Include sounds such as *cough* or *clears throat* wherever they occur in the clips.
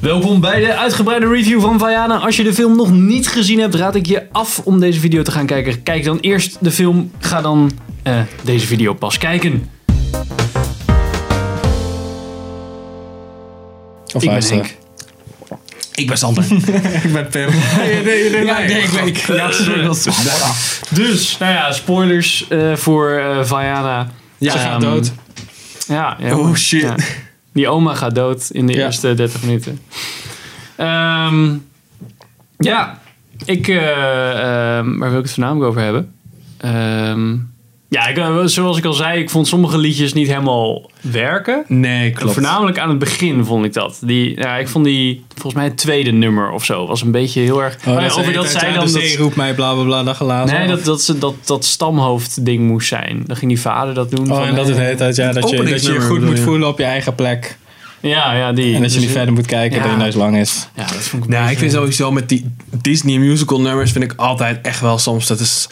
Welkom bij de uitgebreide review van Vajana. Als je de film nog niet gezien hebt, raad ik je af om deze video te gaan kijken. Kijk dan eerst de film, ga dan eh, deze video pas kijken. Of Ik ben luisteren. Henk. Ik ben *laughs* Sander. Ik ben Pim. Nee, nee, nee. Ja, nee, ik weet ik. Ja, sorry, dat is- Eh, Dus, nou ja, spoilers eh, voor eh Vajana. Ja, Ze ze gaat gaan- dood. Ja, ja, Oh, maar- shit. ja. Die oma gaat dood in de Ja. eerste 30 minuten. Ehm, ja, ik. eh, ehm, waar wil ik het voornamelijk over hebben? Ehm, ja, ik, eh, zoals ik al zei, ik vond sommige liedjes niet helemaal werken. Nee, klopt. Voornamelijk aan het begin vond ik dat. Die, ja, ik vond die, volgens mij, het tweede nummer of zo. Was een beetje heel erg. Oh, Oh, ja, dat over dat zij dan. De dat- zee roept mij bla bla bla, dat gelaat. nee, dat, dat, ze, dat, dat stamhoofdding moest zijn. Dan ging die vader dat doen. Oh, van, en dat eh, het de hele tijd, ja, dat je, dat je je openingsnummer goed bedoel moet je? voelen op je eigen plek. Ja, ja, die. En dat je Dus- niet verder moet kijken, dat Ja. je neus lang is. Dus- Ja, dat vond ik Nou, ik vind sowieso met die Disney musical nummers vind ik altijd echt wel soms dat is.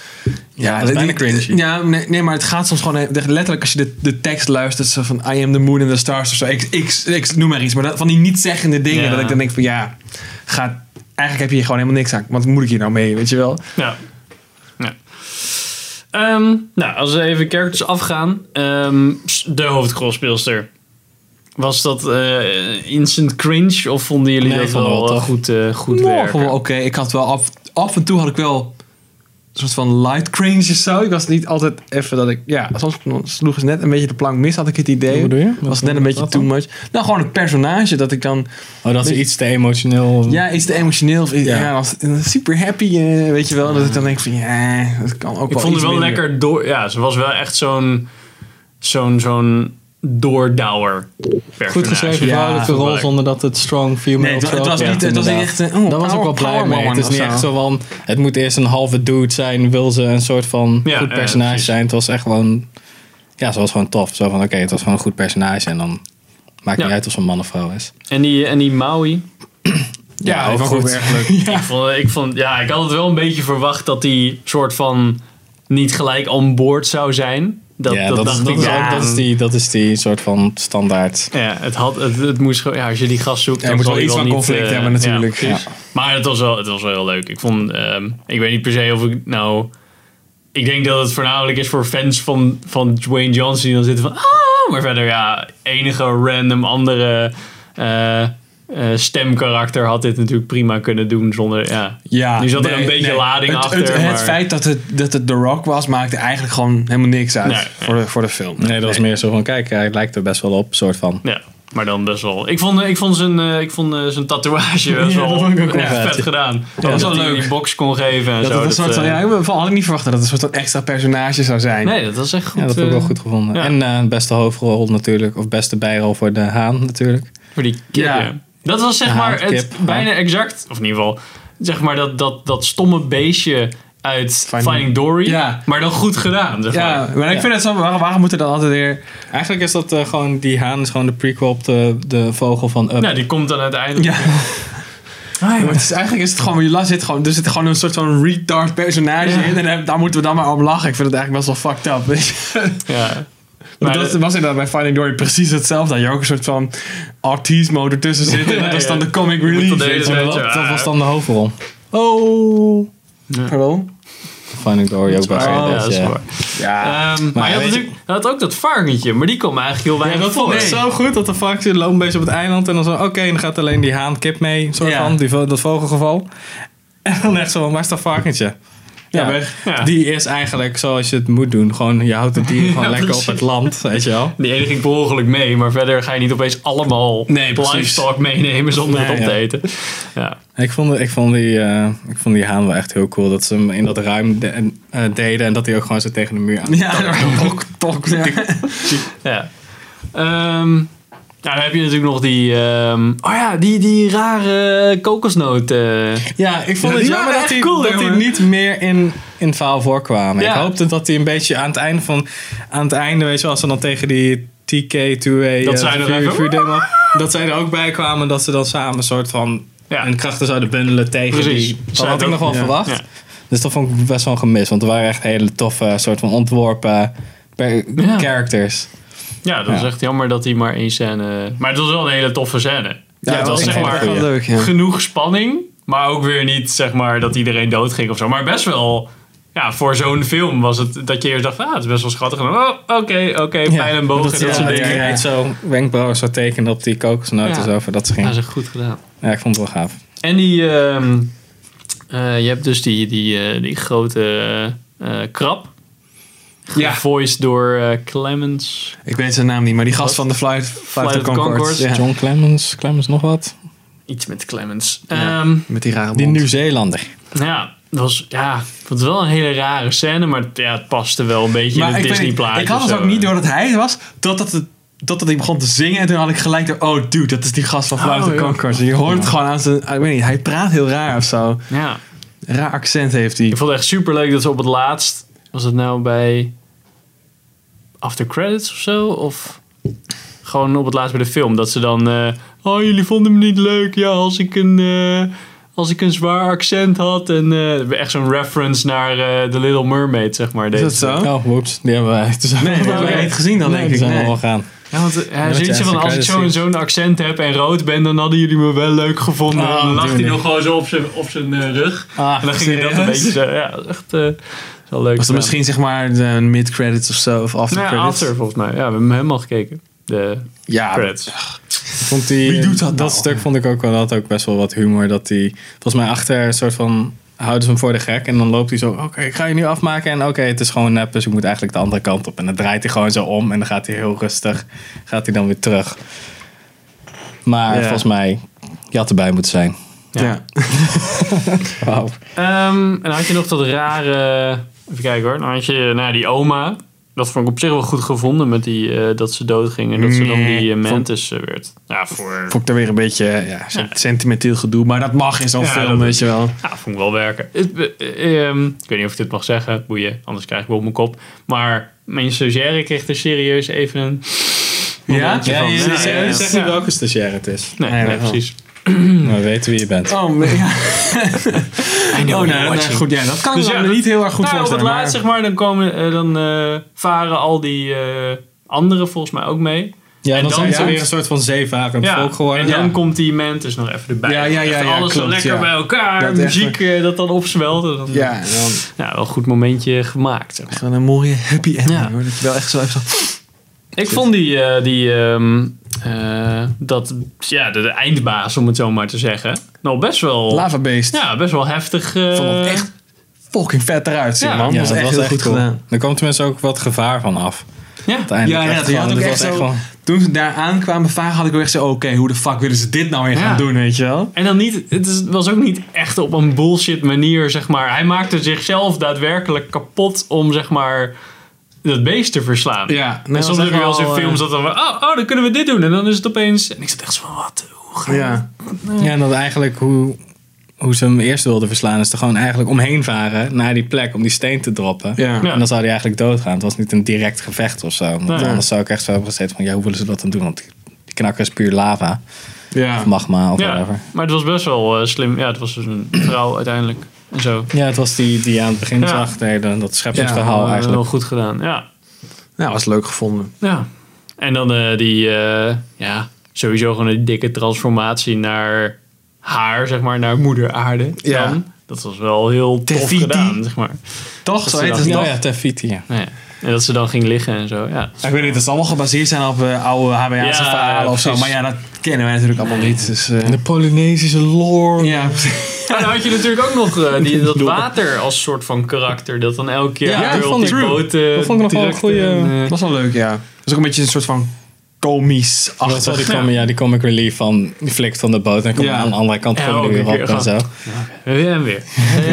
Ja, dat is bijna die- cringy. Ja, nee, nee, maar het gaat soms gewoon echt- letterlijk als je de, de tekst luistert zo van I am the moon and the stars of zo. Ik, ik, ik noem maar iets, maar dat, van die niet zeggende dingen Ja. dat ik dan denk van ja, gaat, eigenlijk heb je hier gewoon helemaal niks aan. Wat moet ik hier nou mee, weet je wel? Ja. ja. Ehm, nou, als we even characters afgaan. ehm, s- de hoofdrolspeelster. Was dat eh, instant cringe of vonden jullie Nee, ik dat vond wel, het wel eh, tof. goed, eh, goed Nou, werken? vond ik wel oké. Ik had wel af, af en toe had ik wel een soort van light cringe of zo. Ik was niet altijd even dat ik ja, soms sloeg ze net een beetje de plank mis had ik het idee. Hoe bedoel je? Wat- Was net een wat beetje dat too dan? much. Nou, gewoon een personage dat ik dan Oh, dat is iets te emotioneel. Ja, iets te emotioneel. Of, ja. Ja. was super happy, eh, weet je wel. Dat ik dan denk van, ja, dat kan ook ik vond het wel lekker door... Ja, ze was wel echt zo'n... Zo'n... zo'n doordouwer. Goed geschreven Ja, vrouwelijke rol zonder dat het strong female Nee, het, wa- het of zo was werd, niet, het was niet inderdaad. echt een... Oh, Daar was ik wel blij mee. Het is niet echt zo van, het moet eerst een halve dude zijn, wil ze een soort van Ja, goed ja, personage precies. zijn. Het was echt gewoon, ja, ze was gewoon tof. Zo van, oké, het was gewoon een goed personage en dan maakt Ja. niet uit of ze een man of vrouw is. En die, en die Maui. Ja, Oh, ook dat vond ik goed. wel *laughs* erg leuk. Ik, vond, eh, ik, vond, ja, ik had het wel een beetje verwacht dat die soort van... Niet gelijk on board zou zijn. Dat, *laughs* ja, dat, dat, is, dacht dat, ik is, wel. ook- dat, is die, dat is die soort van standaard. Ja, het, had, het, het moest gewoon, ja, als je die gast zoekt, Ja, dan moet zal wel die iets van niet, conflict eh, hebben ja, natuurlijk. precies. Ja. Maar het was, wel, het was wel heel leuk. Ik vond, ehm, ik weet niet per se of ik nou, ik denk dat het voornamelijk is voor fans van, van Dwayne Johnson die dan zitten van, ah, maar verder ja, enige random andere eh, eh, stemkarakter had dit natuurlijk prima kunnen doen zonder, ja. Ja, Nu zat er een beetje lading het, achter, Het, het maar- feit dat het, dat het The Rock was, maakte eigenlijk gewoon helemaal niks uit Nee. voor, de, voor de film. Nee, dat was meer zo van, kijk, hij lijkt er best wel op, soort van. Ja, maar dan best wel. Ik vond, ik vond, zijn, eh, ik vond eh, zijn *laughs* tatoeage best Ja, wel dat vond ik ook echt wel vet. vet gedaan. Dat was was wel leuk. Die box kon geven en Dat zo. het een soort van, eh, ja, ik had- had ik niet verwacht dat het een soort van extra personage zou zijn. Nee, dat was echt goed. Ja, dat heb ik wel eh, goed gevonden. ja. En eh, beste hoofdrol natuurlijk, of beste bijrol voor de haan natuurlijk. Voor die kip, Ja. ja. Dat was zeg Ja, maar de het kip, ja. bijna exact, of in ieder geval, zeg maar dat, dat, dat stomme beestje uit Finding, Finding- Dory. Ja. Maar dan goed gedaan, zeg Ja, maar. maar ik Ja. vind het zo, waarom, waarom moet er dan altijd weer... Eigenlijk is dat eh, gewoon, die haan is gewoon de prequel op de, de vogel van Up. Nou, die komt dan uiteindelijk. *laughs* Ja. Maar het is, eigenlijk is het gewoon, je las zit gewoon, er zit gewoon een soort van retard personage Ja. in. En daar- daar moeten we dan maar om lachen. Ik vind het eigenlijk best wel fucked up. weet je. Ja. *laughs* Maar Maar dat de- was inderdaad bij Finding Dory precies hetzelfde. Dat je ook een soort van autisme ertussen zit. En Ja, dat is ja. dan de comic moet relief. dat de hele weet je. tijd- Maar dat, Weet je, dat ah. was dan de hoofdrol. Oh. Pardon? Finding Dory ook best Ja, wel. dat is waar. Ja. Ehm, maar je had, weet je- natuurlijk, je had ook dat varkentje, maar die kwam eigenlijk heel weinig dat voor. vond ik zo goed dat de varkens loopt een beetje op het eiland en dan zo, oké, dan gaat alleen die haan kip mee, soort Ja. van, die, vo- dat vogelgeval. *laughs* En dan echt zo, van, waar is dat varkentje? Ja, weg. Ja. Die is eigenlijk zoals je het moet doen. Gewoon, je houdt het *laughs* dier gewoon Ja, lekker op precies. het land, weet je wel. Die ene ging per ongeluk mee, maar verder ga je niet opeens allemaal Nee, precies. livestock meenemen zonder het Nee, op te ja. eten. Ja. Ik vond, ik, vond die, eh, ik vond die haan wel echt heel cool. Dat ze hem in dat ruim de- en, eh, deden en dat hij ook gewoon zo tegen de muur aan. Ja, tok, tok. Ja. Ja. Ehm, nou, dan heb je natuurlijk nog die... ehm, oh ja, die, die rare kokosnoot. eh. Ja, ik vond het Ja, jammer die waren dat, echt die, cool, dat die jongen. niet meer in, in het verhaal voorkwamen. Ja. Ik hoopte dat hij een beetje aan het einde van... Aan het einde, weet je wel, als ze dan tegen die TK2A... Dat eh, zij er vuur- even- vuurdemo, Dat zij er ook bij kwamen. Dat ze dan samen een soort van... Ja. hun krachten zouden bundelen tegen Precies. die... Dat Zij had ik dat- nog wel ja. verwacht. Ja. Dus dat vond ik best wel gemist. Want er waren echt hele toffe soort van ontworpen... per- Ja. characters. ja, dat is Ja. echt jammer dat hij maar één scène... Maar het was wel een hele toffe scène. Ja, het dat was is zeg een maar goeie. leuk, ja. genoeg spanning, maar ook weer niet zeg maar dat iedereen doodging of zo. Maar best wel, ja, voor zo'n film was het dat je eerst dacht, ah, het is best wel schattig. En dan, oh, oké, oké, pijl en boog en Dat, dat ja, soort dat dingen. je Ja, echt zo wenkbrauwen zou tekenen op die Ja. kokosnoten zo, voor dat ging. dat is goed gedaan. Ja, ik vond het wel gaaf. En die, ehm, eh, je hebt dus die, die, eh, die grote eh krab. Ja. Voiced door eh, Clemens. Ik weet zijn naam niet, maar die gast van de Flight, Flight, Flight of of the Conchords. Conchords. Ja. John Clemens, Clemens nog wat? Iets met Clemens. Ja. Ehm, Met die rare Die mond. Nieuw-Zeelander. Nou ja, het was, ja, het was wel een hele rare scène, maar het, ja, het paste wel een beetje in Maar het ik, weet niet, Disney-plaatje. ik had het of ook zo. niet door dat hij het was, totdat, het, totdat hij begon te zingen. En toen had ik gelijk door, oh dude, dat is die gast van Flight Oh, of the ja. Conchords. Je hoort het gewoon aan zijn, ik weet niet, hij praat heel raar of zo. Ja, Raar accent heeft hij. ik vond het echt super leuk dat ze op het laatst, was het nou bij After Credits of zo? Of gewoon op het laatst bij de film, dat ze dan, eh, oh jullie vonden me niet leuk, ja, als ik een... eh, als ik een zwaar accent had en eh, echt zo'n reference naar eh The Little Mermaid, zeg maar. Is deze dat zo? Oh, whoops. Die hebben wij. Dus Nee, dat hebben we niet gezien dan, denk die ik. zijn Nee. we al gaan. Ja, want eh, hij dat zit je zo van, eigenlijk als ik uit zo'n ziet. zo'n accent heb en rood ben, dan hadden jullie me wel leuk gevonden. Oh, en dan Ah, lag doe hij niet. nog gewoon zo op zijn, op zijn eh, rug. Ah, En dan ging hij dat een beetje zo, ja, dat is echt eh, wel leuk. Was gedaan. dat misschien zeg maar de mid-credits of zo, of after Nou, ja, credits? after volgens mij. Ja, we hebben hem helemaal gekeken. De Ja, credits. Vond die, Wie doet dat nou? stuk vond ik ook wel, had ook best wel wat humor. Dat hij, volgens mij achter een soort van, houden ze hem voor de gek. En dan loopt hij zo, oké, ik ga je nu afmaken. En oké, het is gewoon nep, dus ik moet eigenlijk de andere kant op. En dan draait hij gewoon zo om en dan gaat hij heel rustig, gaat hij dan weer terug. Maar Ja. volgens mij, je had erbij moeten zijn. Ja. *laughs* ja. Wauw. Ehm, en dan had je nog dat rare... Even kijken hoor. Dan had je nou, ja, die oma. Dat vond ik op zich wel goed gevonden met die, eh, dat ze doodging. En dat ze dan Nee, die eh, vond- mantis eh, werd. Ja, voor... Vond ik daar weer een beetje ja, zo'n Ja. sentimenteel gedoe. Maar dat mag in zo'n Ja, film, dat- weet je wel. Ja, vond ik wel werken. Het, eh, ehm, ik weet niet of ik dit mag zeggen, boeien, anders krijg ik wel op mijn kop. Maar mijn stagiaire kreeg er serieus even een. Ja? momentje van. je- ja, ja. Zeg niet welke stagiair het is. Nou, Nee, Nee, nee, dat wel. precies. We weten wie je bent. Hmm. Oh, nee, *laughs* ja. I know oh you're nee, nee, watching. goed, ja, dat kan Dus ik ja, me dat- niet heel erg goed nou, op het voorstellen. maar- laatst, zeg maar, dan, komen, eh, dan eh, varen al die eh, anderen volgens mij ook mee. Ja, En dan dan zijn ze komt- weer een soort van zeevarend Ja, volk geworden. en dan ja. komt die Mantis nog even erbij. Ja, ja, ja, Echt ja, alles zo klopt, lekker ja. bij elkaar, Dat echt muziek eh, dat dan opzwelt. En dan, Ja, en dan Ja, wel een goed momentje gemaakt. zeg maar. echt wel een mooie happy ending Ja. hoor. Dat je wel echt zo even zo... Ik vond die, eh, die ehm, eh, dat, ja, de, de eindbaas, om het zo maar te zeggen, nou best wel, Lava Beast. ja, best wel heftig. eh, Vond het echt fucking vet eruit zien, Ja, man. ja, dat was echt heel goed cool. gedaan. Er kwam tenminste ook wat gevaar van af. Ja, Uiteindelijk Ja, ja, echt je gewoon, had ook dit echt was zo- gewoon- Toen ze daar aankwamen vragen, had ik wel echt zo... Oké, hoe de fuck willen ze dit nou weer Ja. gaan doen, weet je wel? en dan niet, het is, was ook niet echt op een bullshit manier, zeg maar. Hij maakte zichzelf daadwerkelijk kapot om, zeg maar, dat beest te verslaan. Ja. En soms heb je wel eens in eh, films dat dan, van, oh, oh, dan kunnen we dit doen. En dan is het opeens, en ik zat echt zo van, wat, hoe ga Ja. Ja, en dat eigenlijk hoe, hoe ze hem eerst wilden verslaan, is er gewoon eigenlijk omheen varen naar die plek om die steen te droppen. Ja. Ja. En dan zou hij eigenlijk doodgaan. Het was niet een direct gevecht of zo. Want Nee. anders zou ik echt zo hebben gezeten van, ja, hoe willen ze dat dan doen? Want die knakker is puur lava, Ja. of magma of Ja, whatever. maar het was best wel eh, slim. Ja, het was dus een *clears throat* vrouw uiteindelijk en zo. Ja, het was die die aan het begin Ja. zag, nee, dan- dat scheppingsverhaal Eh, eigenlijk. Wel goed gedaan, ja. Nou, was leuk gevonden. Ja. En dan eh, die, eh, ja, sowieso gewoon een dikke transformatie naar haar, zeg maar, naar moeder aarde. Ja. Dan. Dat was wel heel tof Tefiti. gedaan, zeg maar. Toch? ze Zo heet dat- het Ja, toch? ja, Tefiti, ja. Nou ja. En dat ze dan ging liggen en zo, ja. Ik weet niet, dat zal wel gebaseerd zijn op eh, oude HWA'se Ja, verhalen of zo. precies. Maar ja, dat kennen wij natuurlijk allemaal niet. Dus, eh, De Polynesische lore. ja, En dan had je natuurlijk ook nog eh, *laughs* die, dat water als soort van karakter. Dat dan elke keer Ja, weer dat op vond die ik- boot, eh, dat vond ik nog wel een drukt goeie- en, eh, dat was wel leuk, ja. Dat is ook een beetje een soort van Dat wel komisch-achtig. die comic, ja, die comic relief van die flikt van de boot en komt Ja. aan de andere kant Ja, van de ook een weer op keer en zo. gehad. Weer eh, en weer.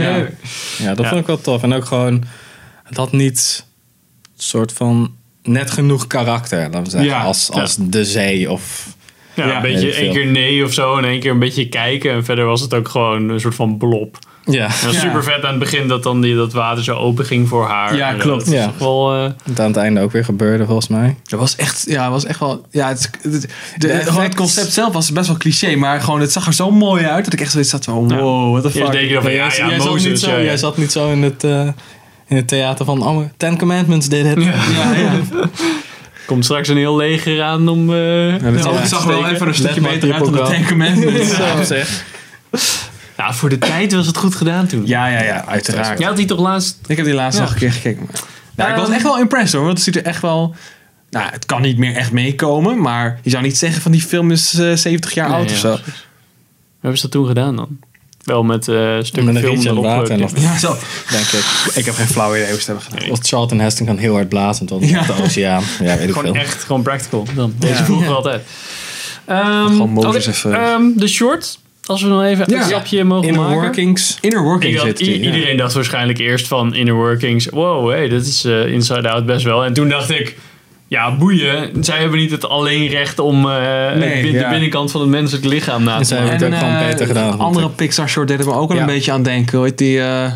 Ja. Ja, dat Ja. vond ik wel tof. En ook gewoon, het had niet soort van net genoeg karakter, laten we zeggen, Ja, als, ja. als de zee of... Ja, Ja, een heel beetje één veel. keer nee of zo en één keer een beetje kijken. En verder was het ook gewoon een soort van blob. Ja, Het was Ja. super vet aan het begin dat dan die, dat water zo open ging voor haar. Ja, En dat klopt. is Ja. echt wel, eh, dat aan het einde ook weer gebeurde volgens mij. Dat was echt, ja, dat was echt wel. Ja, het, het- het, de, De gewoon het effects. concept zelf was best wel cliché, maar gewoon, het zag er zo mooi uit dat ik echt zoiets had van: Ja. wow, what the eerst fuck. denk je dan van, ja, ja, jij, zat niet Mozes. zo, ja, ja. jij zat niet zo in het, eh, in het theater van, oh, Ten Commandments did it. ja, ja. Komt straks een heel leger aan om... eh, dat is de Ja, hoogte ik te zag wel steken. even een Let stukje maar beter op uit dan ook de wel. Tankerman. Zo zeg. Nou, voor de tijd was het goed gedaan toen. Ja, ja, ja, uiteraard. Jij had die toch laatst... Ik heb die laatst Ja. nog een keer gekeken. Maar... Nou, ik was Ehm. echt wel impressed hoor. Want het ziet er echt wel... Nou, het kan niet meer echt meekomen. Maar je zou niet zeggen van die film is eh, 70 jaar Nee, oud ja, of zo. precies. Hoe hebben ze dat toen gedaan dan? Wel met eh stukken Met een film rietje erop, water eh, en nog- Ja, zo. Denk ik. Ik heb geen flauw idee hoe ze hebben gedaan. Nee. Want Charlton Heston kan heel hard blazen tot Ja. op de oceaan. Ja, weet ik Gewoon veel. echt, gewoon practical. Dan. Deze Ja. vroeger altijd. Ehm, Gewoon Mozes oké, even- ehm, de short, als we nog even Ja. een grapje mogen In maken. workings. Inner Ik Working dacht, zit i- die. ja. iedereen dacht waarschijnlijk eerst van Inner Workings. Wow, hey, dit is eh, Inside Out best wel. En toen dacht ik, ja, boeien. Zij hebben niet het alleen recht om eh, het bin- ja. de binnenkant van het menselijk lichaam na En te zij maken. hebben het ook gewoon eh, beter gedaan. Een vond andere ik. Pixar short deed er me ook wel Ja. een beetje aan denken. Hoe heet die eh,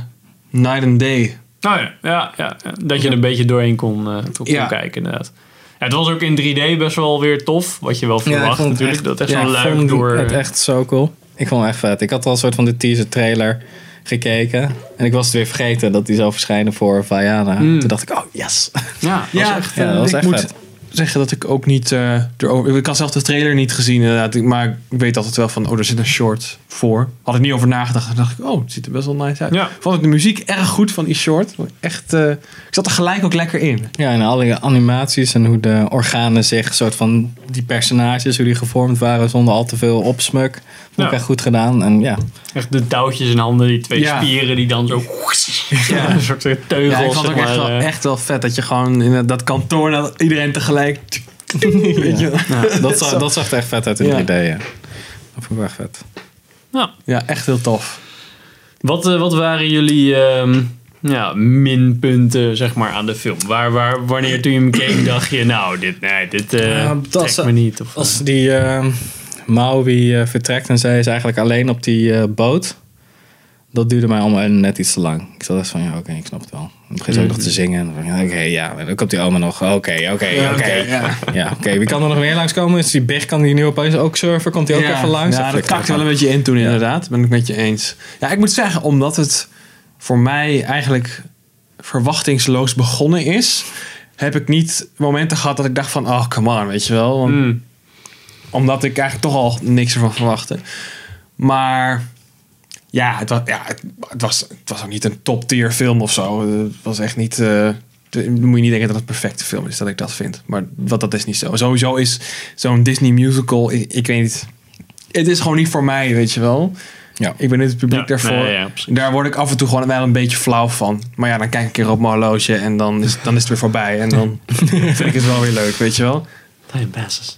Night and Day? Nou ja, ja, ja, ja. dat je er een beetje doorheen kon, eh, kon Ja. kijken inderdaad. Ja, het was ook in 3D best wel weer tof, wat je wel ik verwacht vond het natuurlijk. echt- dat echt ja, zo'n ik luik vond door... Het echt zo cool. Ik vond het echt vet. Ik had al een soort van de teaser trailer gekeken. En ik was het weer vergeten dat die zou verschijnen voor Vajana. Hmm. Toen dacht ik, oh yes. *laughs* ja, Ja, was echt- ja, eh, dat was ik echt moet vet. zeggen dat ik ook niet eh, erover... Ik had zelf de trailer niet gezien inderdaad. Ik- Maar ik weet altijd wel van, oh, er zit een short voor. Had ik niet over nagedacht. Dan dacht ik, oh, het ziet er best wel nice uit. Ja. Vond ik de muziek erg goed van die short. Echt, eh, ik zat er gelijk ook lekker in. Ja, en alle animaties en hoe de organen zich, soort van die personages, hoe die gevormd waren zonder al te veel opsmuk. Vond Ja. ik echt goed gedaan. En *laughs* ja, echt de touwtjes in handen, die twee Ja. spieren die dan zo... *laughs* Ja. een soort eh, teugels, Ja, ik vond zeg het ook echt maar, wel, eh. echt wel vet dat je gewoon in dat kantoor... Dat iedereen tegelijk... *laughs* Weet je wel. dat, zag, dat zag er echt vet uit in Ja. 3D. Ja. Dat vond ik wel echt vet. Nou, Ja, echt heel tof. Wat, eh, wat waren jullie ehm, ja, minpunten zeg maar, aan de film? Waar, waar, wanneer toen je hem keek dacht je, nou, dit, nee, dit eh Ja, dat trekt ze- me niet. Of, Als die eh, Maui eh, vertrekt en zij is eigenlijk alleen op die eh, boot. Dat duurde mij allemaal net iets te lang. Ik zat echt van, ja, oké, ik snap het wel. Dan begint ze ook nog te zingen. En dan van, ja, Oké, ja, en dan komt die oma nog. Oké, oké, oké. ja. Ja, oké, wie kan er nog meer langskomen? Is die Big, kan die nu opeens ook surfen? Komt die ook even langs? Ja, Of dat ik- kakte wel een beetje in toen inderdaad. Ben ik met je eens. Ja, ik moet zeggen, omdat het voor mij eigenlijk verwachtingsloos begonnen is... heb ik niet momenten gehad dat ik dacht van... oh, come on, weet je wel. Want, Mm. Omdat ik eigenlijk toch al niks ervan verwachtte. Maar ja, het was, ja, het, het was, het was ook niet een top-tier film of zo. Het was echt niet... eh, de- moet je niet denken dat het een perfecte film is, dat ik dat vind. Maar wat, dat is niet zo. Sowieso is zo'n Disney musical, ik, ik weet niet... Het is gewoon niet voor mij, weet je wel. Ja. Ik ben niet het publiek Ja, daarvoor. nee, ja, precies. Daar word ik af en toe gewoon wel een beetje flauw van. Maar ja, dan kijk ik een keer op mijn horloge en dan is, dan is het weer voorbij. En *laughs* dan vind ik het wel weer leuk, weet je wel. Time passes.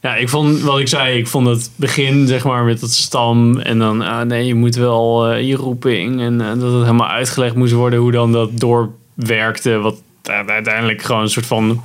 Ja, ik vond, wat ik zei, ik vond het begin, zeg maar, met dat stam. En dan, ah nee, je moet wel eh, je roeping. En eh, dat het helemaal uitgelegd moest worden hoe dan dat doorwerkte. Wat u- uiteindelijk gewoon een soort van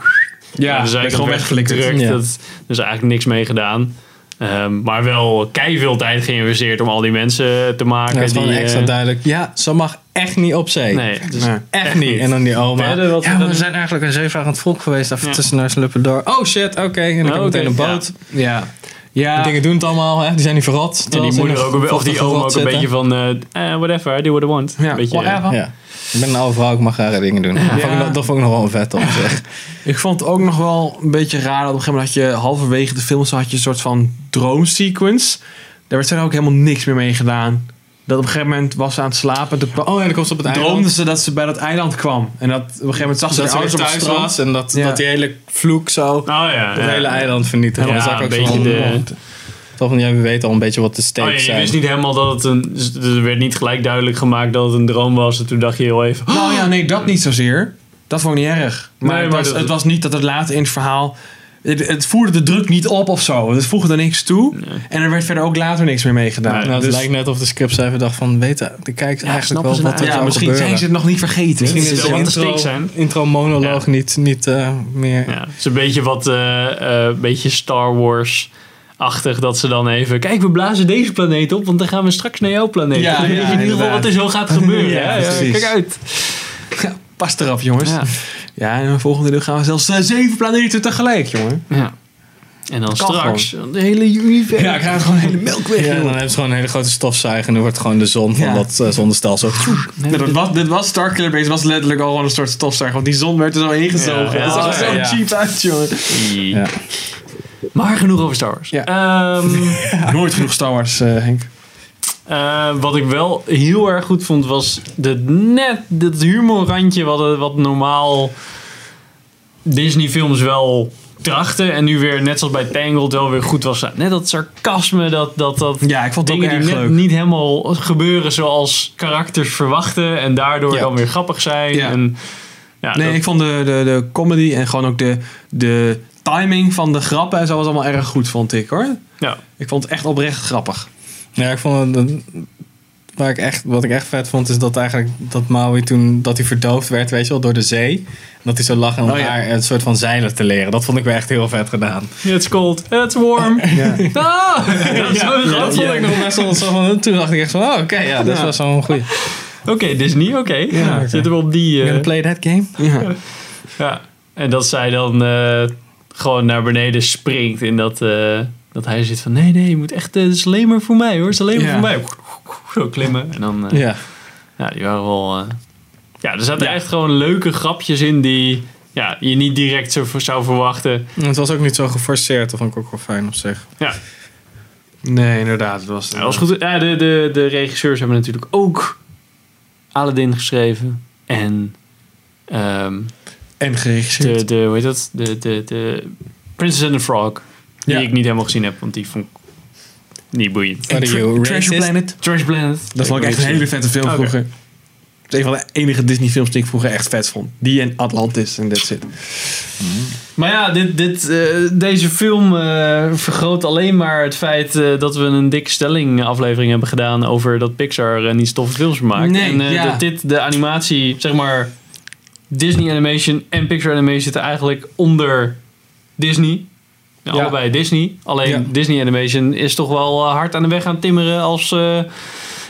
Ja, Ja, dus ben ik eigenlijk gewoon weggelikt. weggedrukt. Ja. Dat, er is eigenlijk niks mee gedaan. Ehm, maar wel kei veel tijd geïnvesteerd om al die mensen te maken. Dat is die, gewoon eh, extra duidelijk. Ja, ze mag echt niet op zee. Nee, dus Ja. Echt niet. En dan die oma. Verder wat- ja, maar we zijn eigenlijk een zeevarend volk geweest. Even Ja. tussen neus en lippen door. Oh shit, oké. En dan Oh, komt oké, meteen een ja. boot. Ja. Die Ja, dingen doen het allemaal, hè? die zijn niet verrot. en terwijl die ze moeder in ook, een be- of die vochtige oom grot ook een zitten. beetje van, eh, eh, whatever, I do what I want. Ja, Een beetje, eh, whatever. Ja. Ik ben een oude vrouw, ik mag rare dingen doen. Dat, vond ik, nog- dat vond ik nog wel een vet op zich. ik vond het ook nog wel een beetje raar. Dat op een gegeven moment had je halverwege de film zo had je een soort van droomsequence. Daar werd verder ook helemaal niks meer mee gedaan. Dat op een gegeven moment was ze aan het slapen. Toen Oh ja, dan komt ze op het droomde ze dat ze bij dat eiland kwam. En dat op een gegeven moment zag ze dat haar ze weer ouders op het thuis strand. was en dat, Ja. dat die hele vloek zo het Oh ja. ja. hele eiland vernietigt. Ja, dan zag ik ook een zo van, beetje de- oh, Toch, want jij weet al een beetje wat de Oh, ja, stakes je zijn. wist niet helemaal dat het een... dus Er werd niet gelijk duidelijk gemaakt dat het een droom was. En toen dacht je heel even... Nou ja, nee, dat niet zozeer. Dat vond ik niet erg. Maar, Nee, het, maar was, dat- het was niet dat het later in het verhaal... Het, het voerde de druk niet op of zo. Het voegde er niks toe. En er werd verder ook later niks meer mee gedaan. Nee. Nou, het Dus- lijkt net of de scriptschrijver dacht van, weten de kijkers eigenlijk snappen wel ze wat er nou? ja, zou misschien gebeuren. zijn ze het nog niet vergeten. Misschien Misschien is is het wel wat de de intro, stakes zijn. intro monoloog Ja. niet, niet eh, meer... *gasps* Ja, het is een beetje wat eh, eh, beetje Star Wars. Achtig dat ze dan even. Kijk, we blazen deze planeet op, want dan gaan we straks naar jouw planeet. *laughs* Ja, dan weet ja, je in ieder geval inderdaad. wat er zo gaat *laughs* gebeuren. Ja, hè? ja, precies. kijk uit. Ja, pas eraf, jongens. Ja. Ja. en in het volgende deel gaan we zelfs eh, zeven planeten tegelijk, jongen. Ja. En dan kan straks de hele universum. Ja, ik krijg gewoon een hele melkweg. Ja, joh. dan hebben ze gewoon een hele grote stofzuiger. En dan wordt gewoon de zon van Ja. dat eh, zonnestelsel. Ja, dat *laughs* was, dit was Starkiller Base, was letterlijk al gewoon een soort stofzuiger. Want die zon werd er zo ingezogen. Ja, dat ja, zag er zo ja. cheap uit, jongen. Ja. Maar genoeg over Star Wars. Ja. *laughs* Ehm, Nooit genoeg Star Wars, eh, Henk. Eh, wat ik wel heel erg goed vond was dat net dat humorrandje wat, eh, wat normaal Disney films wel trachten en nu weer net zoals bij Tangled wel weer goed was. Net dat sarcasme, dat, dat, dat Ja, ik vond het ook dingen die erg net leuk. niet helemaal gebeuren zoals karakters verwachten en daardoor Ja. dan weer grappig zijn. Ja. En, ja, Nee, dat- ik vond de, de, de comedy en gewoon ook de, de timing van de grappen en zo was allemaal erg goed, vond ik hoor. ja. Ik vond het echt oprecht grappig. Ja, ik vond het. Waar ik echt, wat ik echt vet vond, is dat eigenlijk dat Maui toen dat hij verdoofd werd, weet je wel, door de zee. En dat hij zo lag en om Oh ja. haar een soort van zeilen te leren. Dat vond ik wel echt heel vet gedaan. It's cold, it's warm. *laughs* Ja. Ah! *laughs* Dat is wel Dat grappig. vond ik nog best wel zo van. Toen dacht ik echt van, oh, oké, ja, dat Ja. was zo'n goeie. Oké, Disney, oké. Ja, oké. Zitten we op die... You eh, gonna play that game? Ja. Ja, en dat zij dan eh, gewoon naar beneden springt en dat, eh, dat hij zit van nee, nee, je moet echt, eh, het is alleen maar voor mij hoor, het is alleen maar Ja. voor mij. Zo klimmen en dan, eh, ja. Ja. die waren wel, eh, ja, er zaten echt gewoon leuke grapjes in die ja, je niet direct zo zou verwachten. En Het was ook niet zo geforceerd of een kokkelfijn op zich. Ja, Nee, inderdaad. Het was, dat was goed. Ja, de, de, de regisseurs hebben natuurlijk ook Aladdin geschreven en ehm, En de, geregisseerd. de, hoe heet dat? De, de, de Princess and the Frog. Die Ja. ik niet helemaal gezien heb, want die vond ik niet boeiend. What are you, Treasure racist? Planet. Trash Planet. Dat vond ik echt een hele vette film Oké. vroeger. Het is een van de enige Disney films die ik vroeger echt vet vond. Die en Atlantis en that's it. Maar ja, dit, dit, eh, deze film eh, vergroot alleen maar het feit eh, dat we een dikke stelling aflevering hebben gedaan over dat Pixar eh, niet stoffen films maakt. Nee, en eh, ja. dat dit, de animatie, zeg maar Disney Animation en Pixar Animation zitten eigenlijk onder Disney. Ja, Ja. Allebei Disney. Alleen Ja. Disney Animation is toch wel eh, hard aan de weg aan timmeren als eh,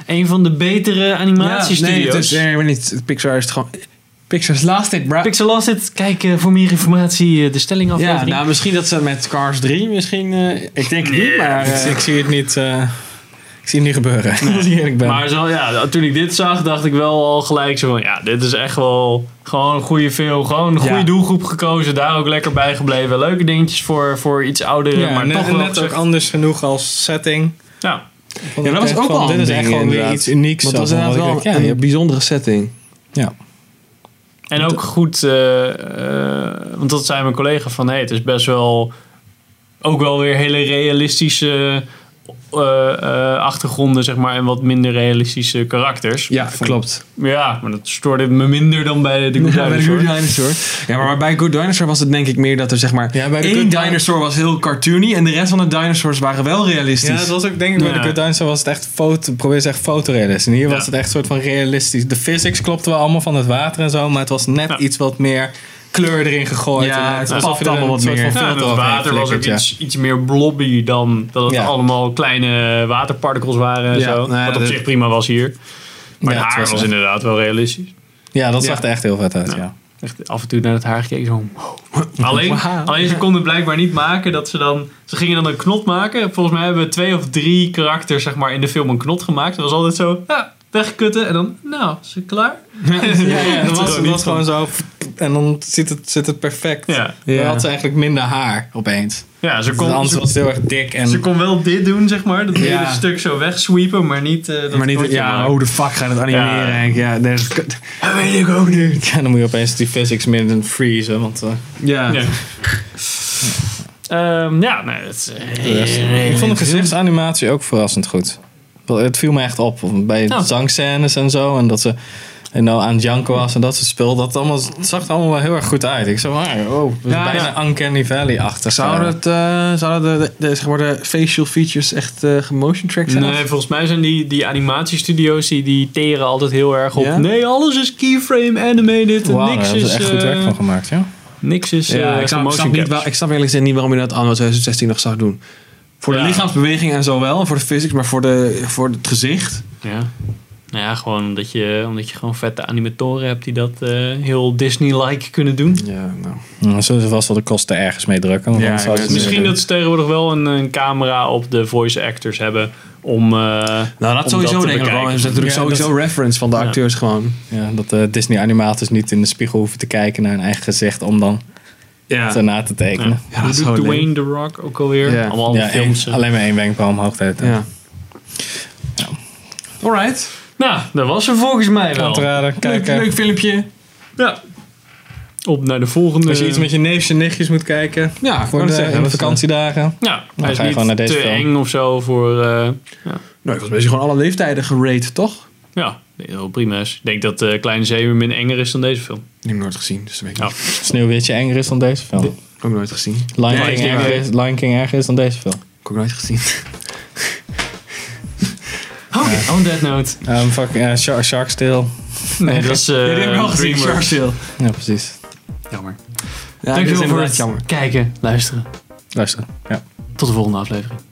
een van de betere nee, het animatiestudio's. is, eh, nee, maar niet. Pixar is het gewoon... Pixar is last it, bro. Pixelasted, kijk eh, voor meer informatie eh, de stelling Ja, aflevering. nou misschien dat ze met Cars 3 misschien... eh, ik denk het Nee, niet, maar... Ik, eh, ik zie het niet. eh, ik zie het niet gebeuren. *laughs* Als ik eerlijk ben. Maar zo, ja, toen ik dit zag, dacht ik wel al gelijk zo van... Ja, dit is echt wel gewoon een goede film. Gewoon een goede Ja. doelgroep gekozen. Daar ook lekker bij gebleven. Leuke dingetjes voor, voor iets oudere, ja, eh, maar net, toch wel net ook gezegd- anders genoeg als setting. Ja. Vond Ja, ik dat was echt ook van, wel Dit een is ding, echt gewoon weer inderdaad. iets unieks. Want dat is zo, van inderdaad wat ik wel dacht, een ja, je- bijzondere setting. ja. En ook goed, eh, eh, want dat zei mijn collega van... Hey, het is best wel ook wel weer hele realistische eh, eh, achtergronden, zeg maar. En wat minder realistische karakters. Vond- klopt. Ja, maar dat stoorde me minder dan bij de Good Ja, bij de Dinosaur. Good Dinosaur. Ja, maar bij Good Dinosaur was het denk ik meer dat er zeg maar... Ja, bij de één Good Din- dinosaur was heel cartoony en de rest van de dinosaurs waren wel ja, realistisch. dat was ook denk ik bij Ja. de Good Dinosaur was het echt foto, probeer ze echt fotorealistisch. En hier Ja. was het echt soort van realistisch. De physics klopte wel allemaal van het water en zo, maar het was net Ja. iets wat meer kleur erin gegooid. Ja, En het alsof papt je er allemaal een wat soort meer. van Ja, en filter het overheen water was ook flikkert, ja. iets, iets meer blobby dan dat het Ja. allemaal kleine waterpartikels waren en Ja, zo. nou ja, wat op dat- zich prima was hier. Maar Ja, het het haar was, was echt- inderdaad wel realistisch. Ja, dat Ja. zag er echt heel vet uit, ja. Echt af en toe naar het haar gekeken. Zo. *laughs* Alleen, Wauw. alleen ze konden blijkbaar niet maken dat ze dan... Ze gingen dan een knot maken. Volgens mij hebben twee of drie karakters zeg maar, in de film een knot gemaakt. Dat was altijd zo... Ja, wegkutten. En dan, nou, is het klaar? Ja, *laughs* ja, Dat het was was, er het niet was gewoon zo. En dan zit het, zit het perfect. Ja. Dan Ja. had ze eigenlijk minder haar opeens. Ja, ze Want kon, anders ze, was het heel erg dik. En, ze kon wel dit doen, zeg maar. Dat Ja. hele stuk zo wegsweepen, maar niet... eh, dat maar niet, knotje ja, maken. hoe de fuck gaat het animeren, Ja. Henk? Ja, nee, dat is- dat weet ik ook niet. *laughs* Ja, dan moet je opeens die physics minder freezen. Want, eh, ja. Ja. *laughs* Ehm, ja, nee, dat is... de rest- ik vond de gezichtsanimatie ook verrassend goed. Wel, Het viel me echt op. Bij Nou. zangscènes en zo. En dat ze en nou, aan Janko was en dat soort spul. Dat allemaal, het zag er allemaal wel heel erg goed uit. Ik zei, maar, oh, dat is Ja, bijna Uncanny Valley-achtig. Zouden Eh, het, eh, zouden de, de, de, zeg maar de facial features echt eh gemotion track zijn? Nee, volgens mij zijn die, die animatiestudio's die, die teren altijd heel erg op. Ja? Nee, alles is keyframe animated. en wauw, daar niks, hebben is, ze echt eh, goed werk van gemaakt, ja. niks is. ja, eh, ik, snap, ik, motion snap niet caps. wel, ik snap eerlijk gezegd niet waarom je dat anno 2016 nog zou doen. Voor de Ja. lichaamsbeweging en zo wel, en voor de physics, maar voor, de, voor het gezicht. Ja. Nou ja, gewoon omdat je, omdat je gewoon vette animatoren hebt die dat eh, heel Disney-like kunnen doen. Ja, nou. Dan zullen ze vast wel de kosten ergens mee drukken. want Ja, anders zouden ik ze het Misschien niet dat ze tegenwoordig wel een, een camera op de voice actors hebben om. eh, nou, om dat sowieso te denk ik wel. bekijken. Er is natuurlijk Ja, sowieso reference van de Ja. acteurs gewoon. doen. Ja, dat eh, Disney-animators niet in de spiegel hoeven te kijken naar hun eigen gezicht om dan Ja. te na te Ja. tekenen. Ja, Hoe doet zo leuk. Dwayne The Rock ook alweer? Ja. Allemaal Ja, één- films. eh. alleen maar één wenkbrauw omhoog. De hele tijd. Ja. Alright. Nou, dat was er volgens mij wel. Aan te raden. Leuk, Kijken. leuk filmpje. Ja. Op naar de volgende. Als eh, je iets met je neefjes en nichtjes moet kijken Ja, ik voor wou de, het zeggen. in de dat is, eh, vakantiedagen. Ja, Dan hij is ga je niet gewoon naar deze te film. eng of zo voor. eh, Nou, ik was bezig gewoon alle leeftijden gerate, toch? ja, heel prima is. Ik denk dat eh Kleine Zeemermin enger is dan deze film. Die heb ik nooit gezien, dus dat weet ik Ja. niet. Sneeuwwitje enger is dan deze film. Ik heb ik nooit gezien. Ik Lion, Nee, ik King denk erger wel. is, Lion King erger is dan deze film. heb ik nooit gezien. Oh, on that *laughs* note. Ehm fuck, eh, Shark, Shark's Tale. Nee, dat is. eh Ja, die heb ik wel gezien, Dreamworks. Sharksil. Ja, precies. Jammer. Ja, dit is Dankjewel voor inderdaad het kijken, luisteren. Luister. Ja. Tot de volgende aflevering.